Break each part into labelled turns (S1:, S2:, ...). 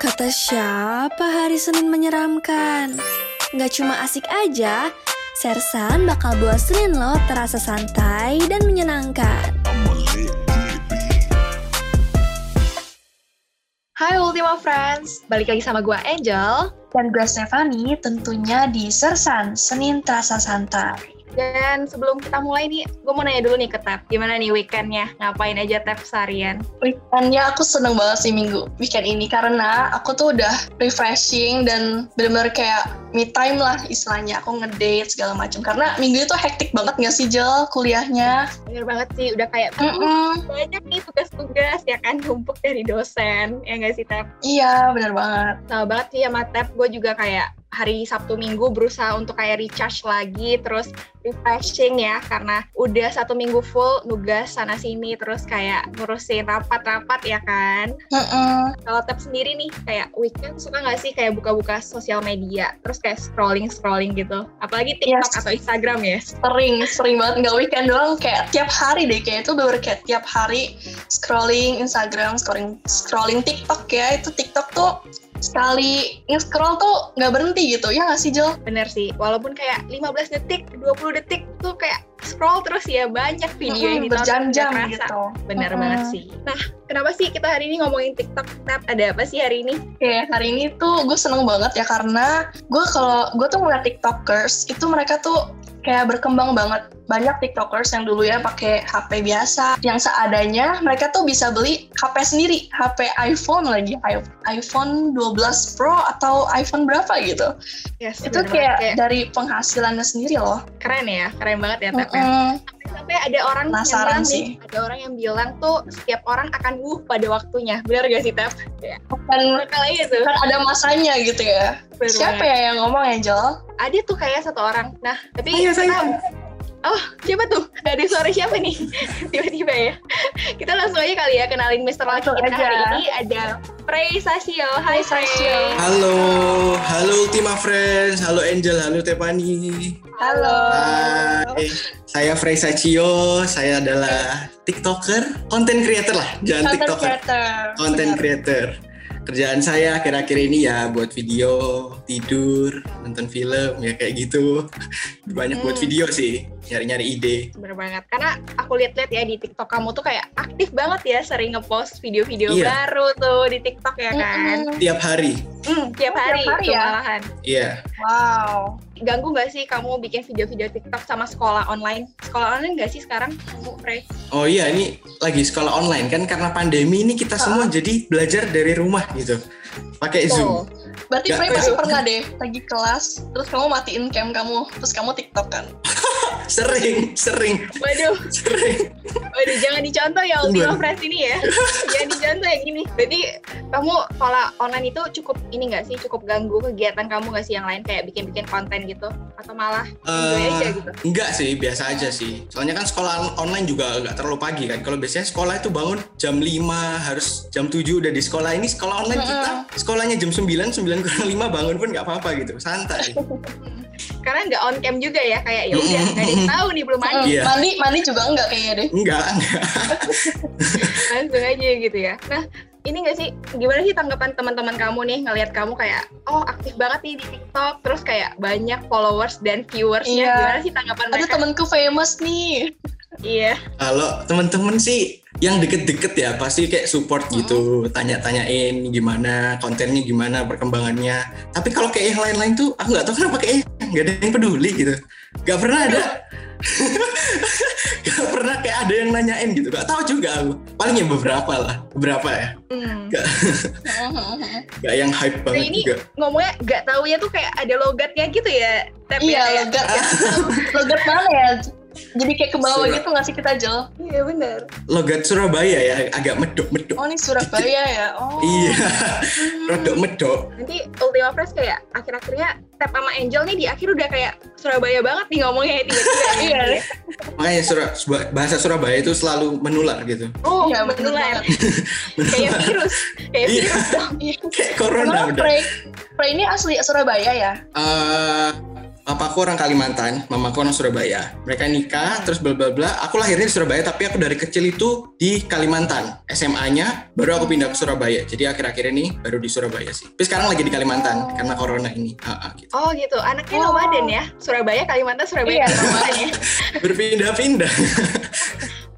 S1: Kata siapa hari Senin menyeramkan? Gak cuma asik aja, Sersan bakal buat Senin lo terasa santai dan menyenangkan.
S2: Hai Ultima Friends, balik lagi sama gue Angel
S3: Dan gue Stefani tentunya di Sersan, Senin Terasa Santai.
S2: Dan sebelum kita mulai nih, gue mau nanya dulu nih ke Tap Gimana nih weekendnya? Ngapain aja Tap seharian?
S3: Weekendnya aku seneng banget sih minggu weekend ini karena aku tuh udah refreshing dan bener-bener kayak me time lah istilahnya. Aku ngedate segala macam karena minggu itu hektik banget gak sih Jel kuliahnya?
S2: Bener banget sih, udah kayak
S3: Mm-mm.
S2: banyak nih tugas-tugas ya kan numpuk dari dosen ya nggak sih Tap?
S3: Iya bener banget.
S2: Sama banget sih sama Tap, gue juga kayak hari Sabtu Minggu berusaha untuk kayak recharge lagi terus refreshing ya karena udah satu minggu full nugas sana sini terus kayak ngurusin rapat-rapat ya kan
S3: Mm-mm.
S2: kalau Tap sendiri nih kayak weekend suka nggak sih kayak buka-buka sosial media terus kayak scrolling scrolling gitu apalagi TikTok
S3: Yes.
S2: atau Instagram ya
S3: Sering, sering banget nggak weekend doang kayak tiap hari deh kayak itu bener kayak tiap hari scrolling Instagram, scrolling scrolling TikTok ya itu TikTok tuh sekali nge-scroll tuh nggak berhenti gitu ya nggak sih Jel?
S2: bener sih walaupun kayak 15 detik 20 detik tuh kayak scroll terus ya banyak video yang
S3: Mm-mm,
S2: ditonton
S3: berjam-jam
S2: nggak kerasa.
S3: gitu.
S2: bener
S3: Mm-mm.
S2: banget sih nah kenapa sih kita hari ini ngomongin TikTok Tap ada apa sih hari ini
S3: Oke, hari ini tuh gue seneng banget ya karena gue kalau gue tuh ngeliat tiktokers itu mereka tuh kayak berkembang banget banyak tiktokers yang dulu ya pakai HP biasa yang seadanya mereka tuh bisa beli HP sendiri HP iPhone lagi i- iPhone 12 Pro atau iPhone berapa gitu
S2: Yes,
S3: itu
S2: bener
S3: kayak,
S2: banget.
S3: dari penghasilannya sendiri loh
S2: keren ya keren banget ya Tap ya.
S3: Mm-mm.
S2: sampai ada orang yang
S3: Penasaran
S2: bilang
S3: sih.
S2: nih ada orang yang bilang tuh setiap orang akan wuh pada waktunya bener gak sih Tap
S3: bukan
S2: Bakal aja tuh
S3: bukan kan ada masanya gitu ya
S2: Bener
S3: siapa
S2: banget.
S3: ya yang ngomong Angel?
S2: ada tuh kayak satu orang nah tapi
S3: Ayo,
S2: kita-
S3: saya.
S2: oh siapa tuh dari suara siapa nih tiba-tiba ya kita langsung aja kali ya kenalin Mister Laki
S3: Langsung
S2: kita
S3: aja.
S2: hari ini ada Prey Sasio
S3: Hai,
S2: Hai
S3: Sasio.
S2: Prey
S4: Halo, halo Ultima Friends, halo Angel, halo Tepani.
S3: Halo.
S4: Hai, saya Frey Sacio, saya adalah TikToker, content creator lah, jangan
S3: Content
S4: TikToker.
S3: creator.
S4: Content
S3: Bener.
S4: creator. Kerjaan saya akhir-akhir ini ya buat video, tidur, nonton film, ya kayak gitu. Banyak buat
S2: Hmm.
S4: video sih, nyari-nyari ide.
S2: Bener banget, karena aku lihat-lihat ya di TikTok kamu tuh kayak aktif banget ya sering ngepost video-video
S4: Iya.
S2: baru tuh di TikTok ya kan
S3: Mm-mm.
S4: Tiap hari,
S2: Hmm, tiap
S3: Oh, tiap
S2: hari,
S3: hari
S2: tuh
S3: ya?
S2: malahan
S4: iya.
S3: Wow.
S2: ganggu nggak sih kamu bikin video-video TikTok sama sekolah online? Sekolah online nggak sih sekarang kamu, Frey?
S4: Oh iya, ini lagi sekolah online kan karena pandemi ini kita semua jadi belajar dari rumah gitu. Pakai Zoom.
S2: Tuh.
S3: Berarti
S4: Gak
S3: Frey
S4: tahu.
S3: pasti pernah deh lagi kelas, terus kamu matiin cam kamu, terus kamu TikTok kan?
S4: sering sering
S2: Waduh,
S4: sering
S2: waduh, Oh, jangan dicontoh ya Ultima
S4: Bener.
S2: Friends ini ya. jangan dicontoh ya gini. Berarti kamu sekolah online itu cukup ini nggak sih? Cukup ganggu kegiatan kamu nggak sih yang lain kayak bikin-bikin konten gitu? Atau malah enjoy aja
S4: Eh,
S2: gitu?
S4: enggak sih biasa aja sih soalnya kan sekolah online juga enggak terlalu pagi kan kalau biasanya sekolah itu bangun jam 5 harus jam 7 udah di sekolah ini sekolah online
S3: Mm-mm.
S4: kita sekolahnya jam 9 9 kurang 5 bangun pun nggak apa-apa gitu santai
S2: Karena nggak on cam juga ya kayak ya udah nggak ada yang tahu nih belum mandi
S4: Iya.
S3: Mm, Mandi, mandi juga enggak kayaknya deh.
S4: enggak enggak
S2: langsung aja gitu ya. Nah ini nggak sih gimana sih tanggapan teman-teman kamu nih ngelihat kamu kayak oh aktif banget nih di TikTok terus kayak banyak followers dan viewersnya
S3: Iya.
S2: gimana sih tanggapan
S3: Ada
S2: mereka?
S3: temanku famous nih.
S2: Iya.
S4: kalau temen-temen sih yang deket-deket ya pasti kayak support gitu tanya-tanyain gimana kontennya gimana perkembangannya tapi kalau kayak yang lain-lain tuh aku nggak tahu kenapa kayak nggak ada yang peduli gitu nggak pernah ada nggak pernah kayak ada yang nanyain gitu nggak tahu juga aku paling ya beberapa lah beberapa ya
S2: Hmm.
S4: nggak yang hype banget
S2: ini-
S4: juga
S2: Ngomongnya nggak tahu ya tuh kayak ada logatnya gitu ya. Tapi
S3: iya,
S2: kayak-
S3: logat ya. logat mana ya? Jadi kayak ke bawah
S4: Surat.
S3: gitu nggak sih kita Jel?
S2: Iya benar.
S4: logat Surabaya ya agak medok-medok
S3: Oh ini Surabaya ya? Oh.
S4: iya rodok medok
S2: Hmm, Nanti Ultima Fresh kayak akhir-akhirnya Tap sama Angel nih di akhir udah kayak Surabaya banget nih ngomongnya ya, tiba-tiba.
S3: Iya.
S2: Iya.
S4: makanya Sura- Sub- bahasa Surabaya itu selalu menular gitu
S2: Oh,
S3: Iya, bener
S2: menular. kayak virus, kayak
S4: Iya.
S2: virus dong.
S3: Iya.
S4: kayak corona
S3: Emang
S4: udah
S3: Frey, Frey ini asli Surabaya ya?
S4: Eh, papaku orang Kalimantan, mamaku orang Surabaya. Mereka nikah, terus bla bla bla. Aku lahirnya di Surabaya, tapi aku dari kecil itu di Kalimantan. SMA-nya baru aku pindah ke Surabaya. Jadi akhir-akhir ini baru di Surabaya sih. Tapi sekarang lagi di Kalimantan karena corona ini. Ah, ah, gitu.
S2: Oh gitu, anaknya
S3: Oh.
S2: nomaden ya? Surabaya, Kalimantan,
S3: Iya.
S2: Surabaya, Kalimantan ya?
S4: Berpindah-pindah.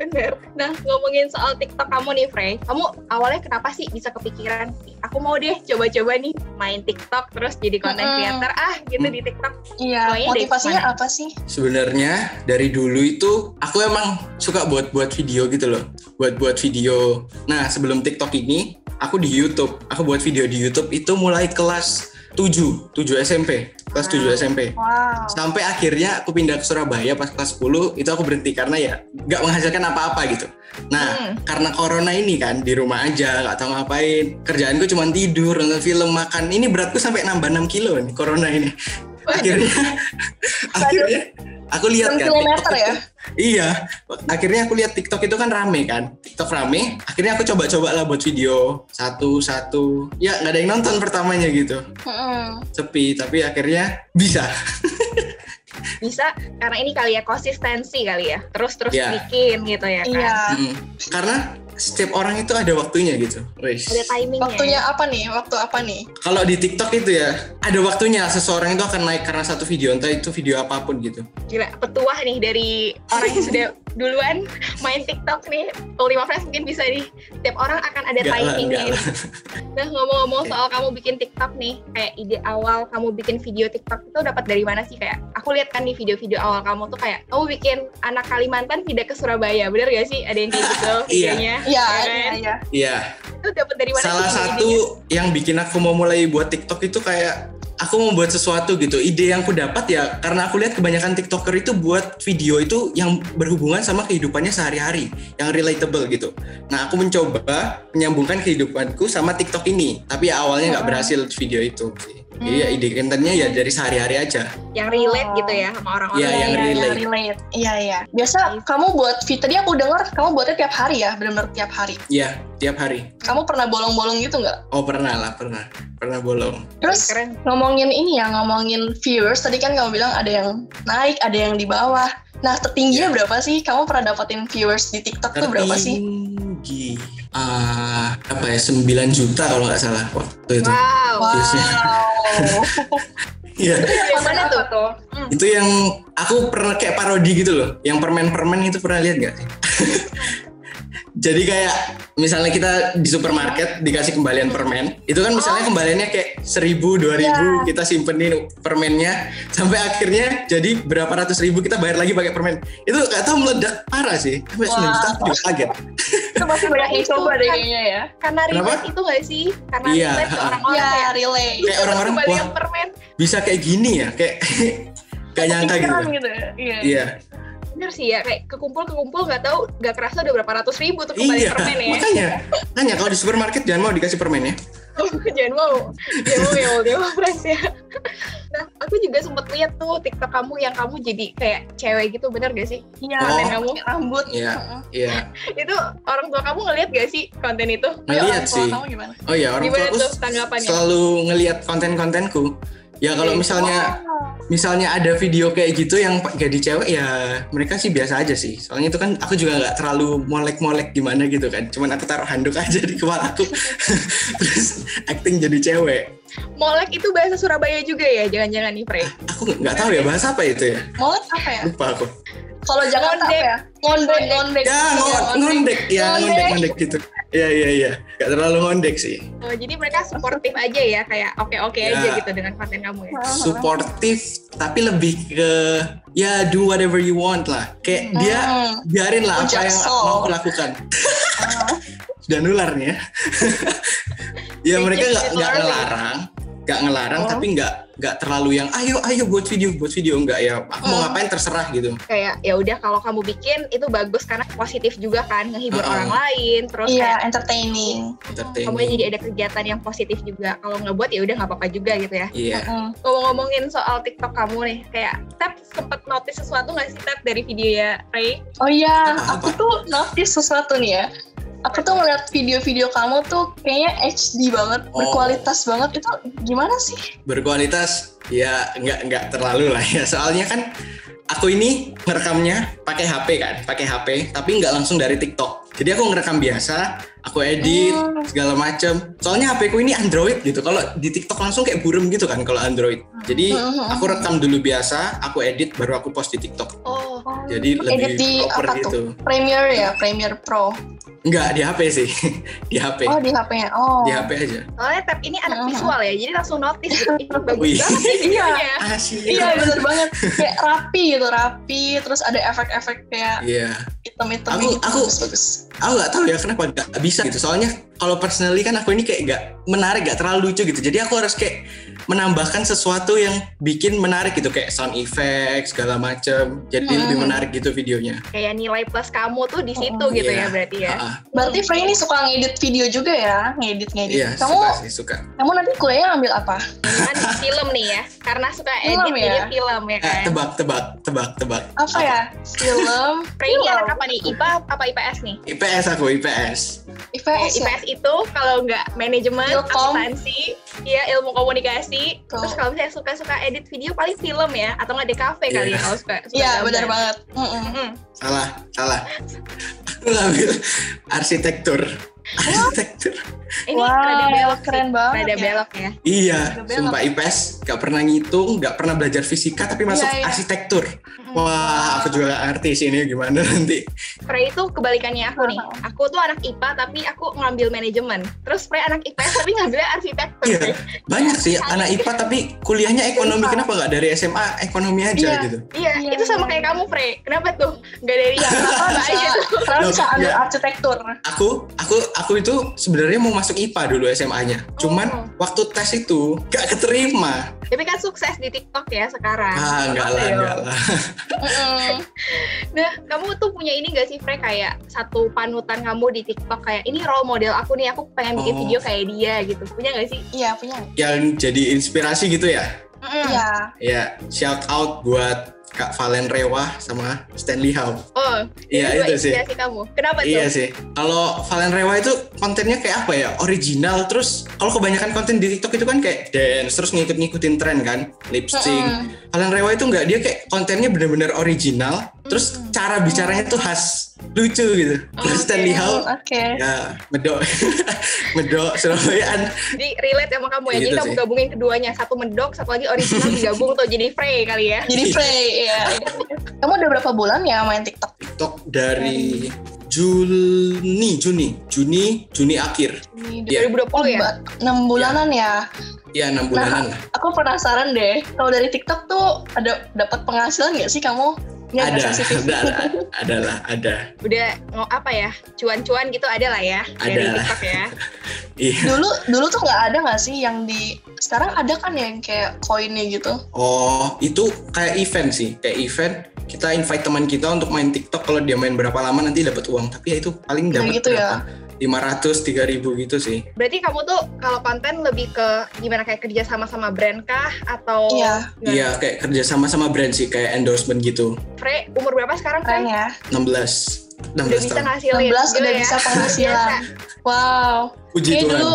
S2: Bener. Nah, ngomongin soal TikTok kamu nih, Frey. Kamu awalnya kenapa sih bisa kepikiran, aku mau deh coba-coba nih main TikTok, terus jadi content
S3: Mm-mm.
S2: creator, ah gitu di TikTok.
S3: Iya,
S2: Pokoknya dari
S3: motivasinya
S2: mana?
S3: apa sih?
S4: Sebenarnya dari dulu itu aku emang suka buat-buat video gitu loh. Buat-buat video. Nah, sebelum TikTok ini aku di YouTube. Aku buat video di YouTube itu mulai kelas 7, 7 SMP. Kelas 7 SMP.
S3: Wow.
S4: Sampai akhirnya aku pindah ke Surabaya pas kelas 10 itu aku berhenti karena ya nggak menghasilkan apa-apa gitu. Nah,
S2: Hmm.
S4: karena corona ini kan di rumah aja nggak tahu ngapain. Kerjaanku cuma tidur, nonton film, makan. Ini beratku sampai nambah 6 kilo nih corona ini. Akhirnya akhirnya aku
S3: 6
S4: lihat kan
S3: kilometer ya?
S4: Iya, akhirnya aku lihat TikTok itu kan rame kan, TikTok rame. Akhirnya aku coba-coba lah buat video satu-satu. Ya nggak ada yang nonton pertamanya gitu,
S3: Mm-mm.
S4: sepi. Tapi akhirnya bisa.
S2: Bisa karena ini kali ya konsistensi kali ya. Terus-terus
S4: Iya.
S2: bikin gitu ya kan.
S3: Iya.
S4: Mm. Karena setiap orang itu ada waktunya gitu, Riz.
S2: Ada timingnya.
S3: Waktunya apa nih? Waktu apa nih?
S4: Kalau di TikTok itu ya ada waktunya. Seseorang itu akan naik karena satu video, entah itu video apapun gitu.
S2: Gila, petuah nih dari orang yang sudah duluan main TikTok nih. Kalau lima friends mungkin bisa nih. Setiap orang akan ada
S4: Nggak lah,
S2: timingnya. nih.
S4: nggak lah.
S2: Nah, ngomong-ngomong soal kamu bikin TikTok nih, kayak ide awal kamu bikin video TikTok itu dapat dari mana sih? Kayak aku lihat kan di video-video awal kamu tuh kayak kamu bikin anak Kalimantan pindah ke Surabaya, bener gak sih? Ada yang kayak gitu
S4: Iya.
S2: videonya.
S3: Iya,
S2: Ya kan?
S3: iya, iya.
S4: Iya.
S2: Itu dapat dari mana
S4: Salah
S2: sih
S4: satu
S2: idenya?
S4: yang bikin aku mau mulai buat TikTok itu kayak aku mau buat sesuatu gitu. Ide yang aku dapat ya karena aku lihat kebanyakan TikToker itu buat video itu yang berhubungan sama kehidupannya sehari-hari, yang relatable gitu. Nah, aku mencoba menyambungkan kehidupanku sama TikTok ini, tapi ya awalnya nggak berhasil video itu. sih. Jadi ya ide kontennya ya dari sehari-hari aja.
S2: yang relate gitu ya sama orang-orang.
S4: Iya, yang
S3: Iya,
S2: lain.
S4: relate.
S3: relate. Iya, iya. Biasa kamu buat fit tadi aku dengar kamu buatnya tiap hari ya, benar-benar tiap hari.
S4: Iya, tiap hari.
S3: Kamu pernah bolong-bolong gitu nggak?
S4: Oh, pernah lah, pernah. Pernah bolong.
S3: Terus
S2: Keren.
S3: ngomongin ini ya, ngomongin viewers tadi kan kamu bilang ada yang naik, ada yang di bawah. Nah, tertingginya berapa sih? Kamu pernah dapetin viewers di TikTok tuh berapa sih?
S4: Iya. Tertinggi. Ah, apa ya? 9 juta kalau nggak salah waktu itu.
S2: Wow.
S3: Wow.
S4: Viewsnya. Iya.
S2: Yang mana tuh? Hmm. tuh?
S4: itu yang aku pernah kayak parodi gitu loh yang permen-permen itu pernah lihat nggak sih jadi kayak misalnya kita di supermarket dikasih kembalian permen itu kan misalnya kembaliannya kayak seribu dua ribu kita simpenin permennya sampai akhirnya jadi berapa ratus ribu kita bayar lagi pakai permen itu nggak tahu meledak parah sih sampai
S3: Wah.
S4: 9 juta aku juga kaget
S3: itu masih banyak yang
S2: Itu
S3: coba deh
S2: kan-
S3: kayaknya ya.
S2: Karena
S4: Kenapa?
S2: relate itu gak sih? Karena
S4: Iya.
S2: relate ke orang-orang
S3: Iya,
S2: kayak
S3: relate.
S4: kayak orang-orang
S2: kembali
S4: wah
S2: yang permen.
S4: bisa kayak gini ya kayak gak nyangka gitu
S3: Pikiran gitu ya. Iya.
S4: iya
S2: Bener sih ya, kayak kekumpul-kekumpul nggak tahu nggak kerasa udah berapa ratus ribu tuh kembali
S4: iya
S2: permen ya.
S4: makanya makanya kalau di supermarket jangan mau dikasih permen ya
S2: jangan mau, jangan mau ya Allah, jangan mau Frans ya. Nah, aku juga sempet lihat tuh TikTok kamu yang kamu jadi kayak cewek gitu, bener gak sih?
S3: Iya,
S4: Oh.
S2: Konten
S3: pakai
S2: kamu
S3: rambut.
S4: Iya.
S3: Heeh.
S4: iya
S2: itu orang tua kamu ngeliat gak sih konten itu?
S3: Tapi orang
S4: ngeliat
S3: tua
S4: sih
S3: Iya, Kamu gimana?
S4: oh iya orang
S2: Gimana
S4: tua aku
S2: tuh tanggapannya? Iya.
S4: selalu ngeliat konten-kontenku ya kalau
S2: Oke.
S4: misalnya
S2: Oh.
S4: misalnya ada video kayak gitu yang jadi cewek ya mereka sih biasa aja sih soalnya itu kan aku juga nggak terlalu molek-molek gimana gitu kan cuman aku taruh handuk aja di kepala aku terus acting jadi cewek
S2: Molek itu bahasa Surabaya juga ya, jangan-jangan nih Frey.
S4: aku nggak tahu ya bahasa apa itu ya
S3: Molek apa ya?
S4: lupa aku
S3: Kalau Jakarta apa
S2: Ngondek.
S3: ya? Ngondek,
S2: Ngondek.
S3: ngondek.
S4: ya ngo- ngondek ya
S3: Ngondek.
S4: ngondek ngondek gitu Iya iya iya nggak terlalu ngondek sih
S2: Oh, jadi mereka supportive aja ya, kayak oke-oke aja
S4: Ya.
S2: gitu dengan konten kamu ya.
S4: supportive tapi lebih ke ya do whatever you want lah kayak dia
S3: Hmm.
S4: biarin lah apa
S3: Ucap
S4: yang
S3: so.
S4: mau lakukan
S3: Ah.
S4: sudah nular nih ya ya
S2: Thank
S4: mereka
S2: you,
S4: nggak nggak
S2: Lorelei.
S4: ngelarang nggak ngelarang
S3: Oh.
S4: tapi nggak nggak terlalu yang ayo ayo buat video buat video nggak ya aku
S3: Hmm.
S4: mau ngapain terserah gitu
S2: Kayak ya udah kalau kamu bikin itu bagus karena positif juga kan, ngehibur
S4: Uh-uh.
S2: orang lain, terus kayak
S3: Iya, entertaining.
S2: Kemudian
S4: entertaining
S2: jadi ada kegiatan yang positif juga. Kalau nggak buat ya udah nggak apa-apa juga gitu ya.
S4: iya
S3: Heeh.
S2: Ngomong-ngomongin soal TikTok kamu nih, kayak Tap sempet notice sesuatu nggak sih Tap dari video ya Ray?
S3: Oh iya,
S4: Apa?
S3: aku tuh notice sesuatu nih ya. aku tuh ngeliat video-video kamu tuh kayaknya HD banget,
S4: Oh.
S3: berkualitas banget. Itu gimana sih?
S4: berkualitas ya nggak nggak terlalu lah ya soalnya kan aku ini ngerekamnya pakai HP kan pakai HP tapi nggak langsung dari TikTok jadi aku ngerekam biasa aku edit
S3: Hmm.
S4: segala macem soalnya HP ku ini Android gitu kalau di TikTok langsung kayak burem gitu kan kalau Android jadi
S3: Hmm.
S4: aku rekam dulu biasa aku edit baru aku post di TikTok
S2: Oh,
S4: jadi
S3: Edit
S4: lebih
S3: di
S4: proper
S3: apa
S4: gitu
S3: tuh? Premiere ya, Premiere Pro.
S4: nggak di HP sih di HP
S3: Oh, di HP-nya. Oh.
S4: di HP aja
S2: soalnya tab ini anak
S3: Mm.
S2: visual ya, jadi langsung notice gitu. Ini bagus
S4: Wih.
S2: banget sih
S3: Iya.
S2: videonya.
S4: Asyik.
S3: Iya bener banget kayak rapi gitu rapi terus ada efek-efek kayak
S4: Iya.
S3: hitam-hitam
S4: Aku-
S3: gitu
S4: aku-
S3: bagus
S4: aku nggak tahu ya kenapa nggak bisa gitu soalnya kalau personally kan aku ini kayak nggak menarik nggak terlalu lucu gitu jadi aku harus kayak menambahkan sesuatu yang bikin menarik gitu kayak sound effect segala macem jadi
S3: Hmm.
S4: lebih menarik gitu videonya
S2: Kayak nilai plus kamu tuh di situ
S4: Mm.
S2: gitu
S4: Iya.
S2: ya berarti ya.
S4: Ah, ah.
S3: berarti Frey ini suka ngedit video juga ya ngedit ngedit
S4: iya
S3: kamu
S4: suka sih suka
S3: kamu nanti kuliahnya ambil apa
S2: Kan di film nih ya, karena suka
S3: Film
S2: edit
S3: ya?
S2: jadi film ya
S4: Eh,
S2: kan.
S4: tebak tebak tebak tebak
S3: apa ya film
S4: Nah,
S2: Frey ini
S3: Film.
S2: anak apa nih? IPA apa IPS nih?
S4: IPS aku IPS
S2: Oh, Eh,
S3: IPS ya
S2: IPS itu kalau nggak manajemen,
S3: Ilkom.
S2: akuntansi, iya ilmu komunikasi.
S3: Betul.
S2: Terus kalau misalnya suka-suka edit video paling film ya, atau nggak di kafe kali
S4: Iya.
S2: ya kalau suka. suka
S3: iya
S2: gambar.
S3: benar banget Mm-mm.
S2: Mm-mm.
S4: salah salah aku ngambil arsitektur arsitektur
S2: Ini
S3: Wow,
S2: rada belok sih.
S3: keren banget
S2: Rada
S3: ya.
S2: belok ya.
S4: Iya,
S3: Nggak belok.
S4: sumpah IPS nggak pernah ngitung, nggak pernah belajar fisika, tapi masuk
S3: Iya, iya.
S4: arsitektur. Wah, aku juga nggak ngerti sih ini gimana nanti.
S2: Frey itu kebalikannya aku nih.
S3: Wow.
S2: Aku tuh anak IPA tapi aku ngambil manajemen. Terus Frey anak IPS tapi ngambil arsitektur.
S4: Iya.
S2: Frey.
S4: Banyak sih anak IPA tapi kuliahnya ekonomi,
S3: Iya.
S4: kenapa nggak dari SMA ekonomi aja
S3: Iya.
S4: gitu?
S2: Iya,
S3: Iya,
S2: itu sama
S3: iya.
S2: kayak kamu, Frey. Kenapa tuh? Gak dari yang apa
S3: Kenapa
S2: aja
S3: bisa-
S2: tuh.
S3: kenapa
S4: Loh,
S3: bisa ambil
S4: iya.
S3: arsitektur
S4: Aku, aku, aku itu sebenarnya mau masuk IPA dulu SMA-nya. Cuman
S2: Oh.
S4: waktu tes itu nggak keterima.
S2: Tapi kan sukses di TikTok ya sekarang. Gitu.
S4: Ah, nggak lah,
S2: Ayo.
S4: nggak lah.
S3: Mm-mm.
S2: Nah, kamu tuh punya ini gak sih, Frey? Kayak satu panutan kamu di TikTok kayak, ini role model aku nih, aku pengen bikin
S4: Oh.
S2: video kayak dia gitu. Punya gak sih?
S3: iya punya
S2: Hmm.
S4: Yang Ya, jadi inspirasi gitu ya?
S2: Mm-mm.
S3: iya
S4: Ya, shout out buat Kak Valen Rewah sama Stanley Hau.
S2: Oh,
S4: Iya
S2: dua
S4: itu sih.
S2: inspirasi kamu. Kenapa
S4: Iya
S2: tuh?
S4: sih. Kalau Valen Rewa itu kontennya kayak apa ya? Original. Terus kalau kebanyakan konten di TikTok itu kan kayak dance, terus ngikut-ngikutin tren kan, lip sync.
S3: Mm-mm.
S4: Valen Rewa itu enggak dia kayak kontennya bener-bener original. Terus cara bicaranya tuh khas, lucu gitu. Terus Stanley
S3: Mm,
S4: Hall
S3: oke
S4: ya medok, medok Surabayaan.
S2: Jadi relate sama kamu ya.
S4: Gitu
S2: Jadi kamu
S4: sih.
S2: gabungin keduanya, satu mendok, satu lagi original digabung tuh jadi Frey kali ya.
S3: jadi Frey iya kamu udah berapa bulan ya main TikTok
S4: TikTok dari Juni, Juni, Juni, Juni akhir.
S3: Ini
S4: Iya.
S2: 2020 ya?
S3: 6 bulanan ya
S4: Ya enam bulanan lah.
S3: aku penasaran deh kalau dari TikTok tuh ada dapat penghasilan nggak sih kamu Nggak
S4: Ada,
S3: sensitif.
S4: ada, ada, ada lah, ada.
S2: Udah ngo apa ya? Cuan-cuan gitu ada lah ya dari
S4: Ada.
S2: TikTok ya.
S4: Iya.
S3: dulu dulu tuh nggak ada nggak sih yang di sekarang ada kan yang kayak koinnya gitu
S4: Oh, itu kayak event sih, kayak event kita invite teman kita untuk main TikTok kalau dia main berapa lama nanti dapat uang. Tapi ya itu paling
S3: Kayak
S4: dapat
S3: gitu
S4: berapa? 500, 3000 gitu sih.
S2: Berarti kamu tuh kalau konten lebih ke gimana kayak kerja sama sama brand kah atau
S3: iya
S2: gimana?
S4: Iya, kayak kerja sama sama brand sih, kayak endorsement gitu.
S2: Frey umur berapa sekarang
S3: keren
S2: Frey?
S3: ya
S4: 16
S2: Udah
S4: 16
S2: bisa
S4: tahun.
S3: 16
S2: ngasilin gitu
S3: udah
S2: ya.
S3: bisa
S2: Biasa.
S3: penghasilan wow
S4: Puji
S3: kayak
S4: Tuhan.
S3: dulu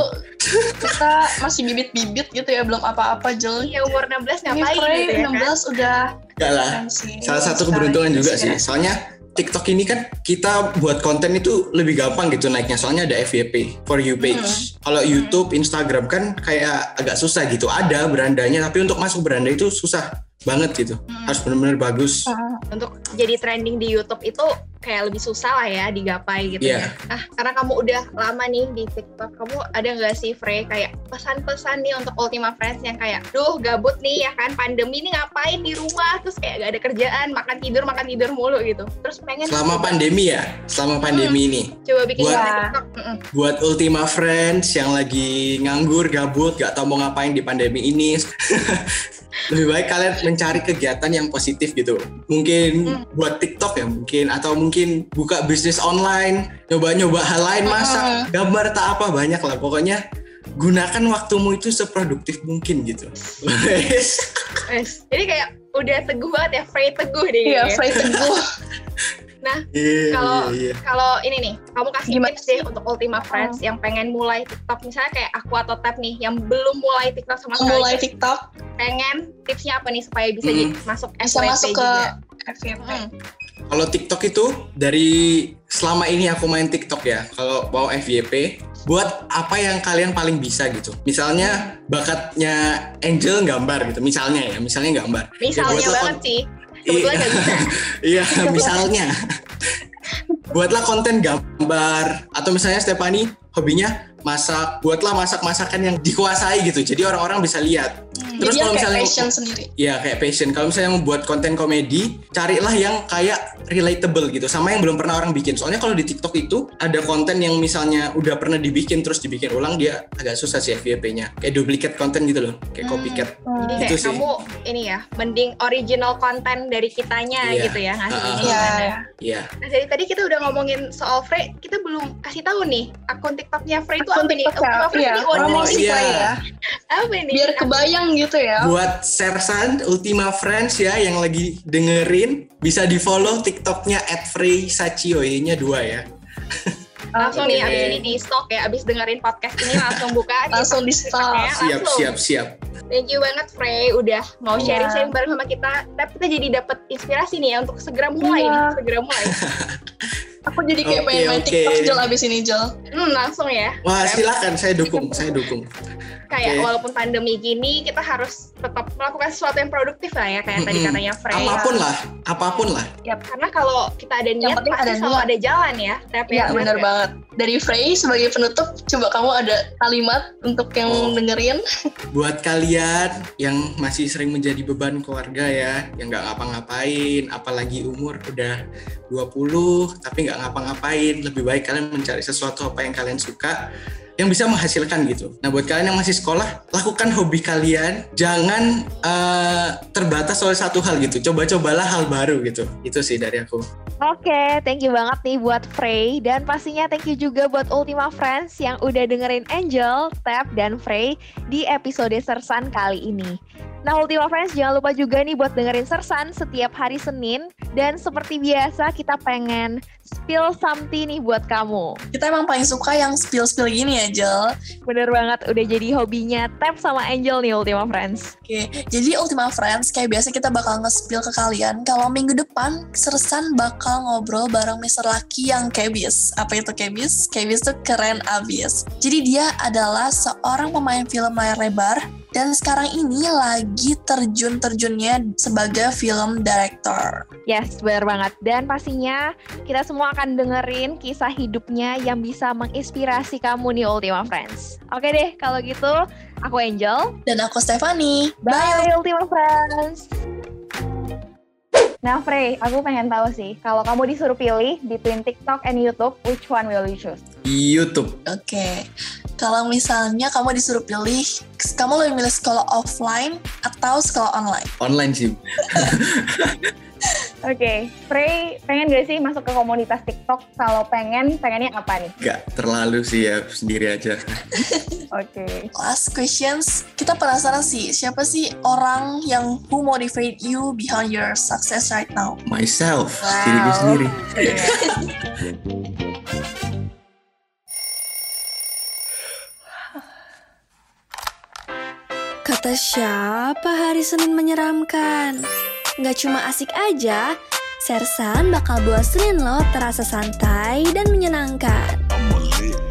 S3: kita masih bibit-bibit gitu ya belum apa-apa jeli
S2: Iya umur 16
S3: ini
S2: ngapain gitu
S3: Frey
S2: ya kan?
S3: 16 udah
S4: Enggak lah.
S3: keren sih
S4: Nah, Salah satu
S3: Sekarang
S4: keberuntungan juga sih.
S3: inspirasi.
S4: Soalnya TikTok ini kan kita buat konten itu lebih gampang gitu naiknya soalnya ada FYP for you page. Kalau YouTube, Instagram kan kayak agak susah gitu. Ada berandanya tapi untuk masuk beranda itu susah banget gitu. Harus benar-benar bagus.
S3: Mm.
S2: untuk jadi trending di YouTube itu kayak lebih susah lah ya digapai gitu ya.
S4: Iya.
S2: Nah, karena kamu udah lama nih di TikTok, kamu ada nggak sih Frey kayak pesan-pesan nih untuk Ultima Friends yang kayak, duh gabut nih ya kan, pandemi ini ngapain di rumah, terus kayak gak ada kerjaan, makan tidur makan tidur mulu gitu. Terus pengen
S4: Selama
S2: coba,
S4: pandemi ya, selama pandemi ini
S2: coba bikin
S4: Buat-
S2: konten TikTok. Mm-mm.
S4: buat Ultima Friends yang lagi nganggur, gabut, gak tau mau ngapain di pandemi ini. lebih baik kalian mencari kegiatan yang positif gitu. Mungkin buat TikTok ya mungkin atau mungkin buka bisnis online, nyoba-nyoba hal lain, masak, gambar tak apa banyak lah pokoknya gunakan waktumu itu seproduktif mungkin gitu. Wes.
S2: Wes. Jadi kayak udah teguh banget ya, Frey teguh deh.
S3: iya
S2: gitu ya.
S3: Frey teguh
S2: Nah,
S4: Iya,
S2: kalau-
S4: iya, iya.
S2: kalau ini nih, kamu kasih
S3: Gimana Hmm.
S2: tips deh untuk Ultima Friends yang pengen mulai TikTok. Misalnya kayak aku atau Tab nih, yang belum mulai TikTok sama sekali.
S3: mulai TikTok
S2: Pengen tipsnya apa nih supaya bisa
S4: Hmm.
S2: jadi masuk
S3: bisa
S2: FYP
S3: masuk ke
S2: juga.
S3: FYP.
S2: Hmm.
S4: Kalau TikTok itu dari selama ini aku main TikTok ya. Kalau mau FYP, buat apa yang kalian paling bisa gitu. Misalnya bakatnya Angel gambar gitu. Misalnya ya, misalnya gambar. Ya,
S2: Misalnya
S4: buatlah
S2: banget
S4: kon-
S2: sih. Kebetulan
S4: Iya.
S2: nggak bisa.
S4: Iya, misalnya. buatlah konten gambar atau misalnya Stephanie hobinya masak, buatlah masak-masakan yang dikuasai gitu. Jadi orang-orang bisa lihat. Terus
S3: Hmm, Jadi yang
S4: kalau
S3: kayak
S4: misalnya-
S3: passion sendiri.
S4: Ya kayak passion. Kalau misalnya membuat konten komedi, carilah yang kayak relatable gitu, sama yang belum pernah orang bikin. Soalnya kalau di TikTok itu ada konten yang misalnya udah pernah dibikin terus dibikin ulang, dia agak susah sih FYP-nya. Kayak duplikat konten gitu loh, kayak
S2: Hmm.
S4: copycat.
S2: Jadi
S4: Gitu
S2: kayak
S4: sih.
S2: kamu ini ya, mending original konten dari kitanya
S4: Iya.
S2: gitu ya ngasih
S4: Ah, ah,
S2: ini
S3: Iya.
S2: gimana.
S4: Iya.
S2: Nah, dari tadi kita udah ngomongin soal Frey, kita belum kasih tahu nih akun TikToknya Frey itu apa nih? Ultima Frey
S3: ya,
S2: ini
S3: orang
S2: online
S3: mau
S4: iya.
S3: supply ya.
S2: apa ini?
S3: Biar kebayang gitu ya.
S4: Buat Sersan Ultima Friends ya yang lagi dengerin bisa di follow TikToknya @freysachio nya dua ya.
S2: langsung
S4: Oke.
S2: nih abis ini di stok ya, abis dengerin podcast ini langsung buka.
S3: Langsung di
S2: TikToknya,
S3: stop.
S4: Siap
S2: langsung.
S4: siap siap.
S2: Thank you banget Frey udah mau
S3: Iya.
S2: sharing sharing bareng sama kita. Tapi kita jadi dapat inspirasi nih ya untuk segera mulai
S3: Iya.
S2: nih, segera mulai.
S3: Aku jadi kayak
S4: Oke,
S3: pengen main
S4: oke.
S3: TikTok Jel abis ini Jel.
S2: Hmm, langsung ya.
S4: Wah
S2: Rem.
S4: silakan saya dukung saya dukung.
S2: Kayak
S4: Oke.
S2: walaupun pandemi gini kita harus tetap melakukan sesuatu yang produktif lah ya kayak tadi
S4: Mm-mm.
S2: katanya Frey.
S4: Apapun lah apapun lah.
S2: Karena kalau kita ada niat
S3: penting
S2: pasti
S3: ada
S2: selalu
S3: niat.
S2: ada jalan ya. Tapi
S3: Iya bener banget. Dari Frey sebagai penutup, coba kamu ada kalimat untuk yang
S4: Oh.
S3: dengerin.
S4: buat kalian yang masih sering menjadi beban keluarga ya yang nggak ngapa-ngapain apalagi umur udah 20 tapi nggak ngapa-ngapain lebih baik kalian mencari sesuatu apa yang kalian suka yang bisa menghasilkan gitu nah buat kalian yang masih sekolah lakukan hobi kalian jangan eh, terbatas oleh satu hal gitu coba-cobalah hal baru gitu itu sih dari aku
S5: Oke, thank you banget nih buat Frey dan pastinya thank you juga buat Ultima Friends yang udah dengerin Angel, Tap, dan Frey di episode Sersan kali ini. Nah, Ultima Friends jangan lupa juga nih buat dengerin Sersan setiap hari Senin dan seperti biasa kita pengen spill something nih buat kamu.
S3: Kita emang paling suka yang spill-spill gini ya Jel.
S5: Bener banget udah jadi hobinya Tap sama Angel nih Ultima Friends.
S3: Oke, jadi Ultima Friends kayak biasa kita bakal nge-spill ke kalian kalau minggu depan Sersan bakal ngobrol bareng Mr. Lucky yang Kebis. Apa itu Kebis? Kebis tuh keren abis. Jadi dia adalah seorang pemain film layar lebar dan sekarang ini lagi terjun-terjunnya sebagai film director.
S5: Yes, bener banget. Dan pastinya kita semua akan dengerin kisah hidupnya yang bisa menginspirasi kamu nih Ultima Friends. Oke deh, kalau gitu aku Angel.
S3: Dan aku Stefani. Bye!
S5: Bye Ultima Friends. Nah Frey, aku pengen tahu sih, kalau kamu disuruh pilih between TikTok and YouTube, which one will you choose?
S4: di YouTube
S3: Oke, kalau misalnya kamu disuruh pilih, kamu lebih milih sekolah offline atau sekolah online?
S4: online sih
S5: Oke, Frey pengen gak sih masuk ke komunitas TikTok? Kalau pengen, pengennya apa nih?
S4: nggak terlalu sih ya sendiri aja
S5: Oke.
S3: Last questions, kita penasaran sih, siapa sih orang yang who motivate you behind your success right now?
S4: myself
S5: Wow.
S4: diriku sendiri
S1: Kata siapa hari Senin menyeramkan? Gak cuma asik aja, Sersan bakal bawa Senin lo terasa santai dan menyenangkan.
S6: I'm a lick.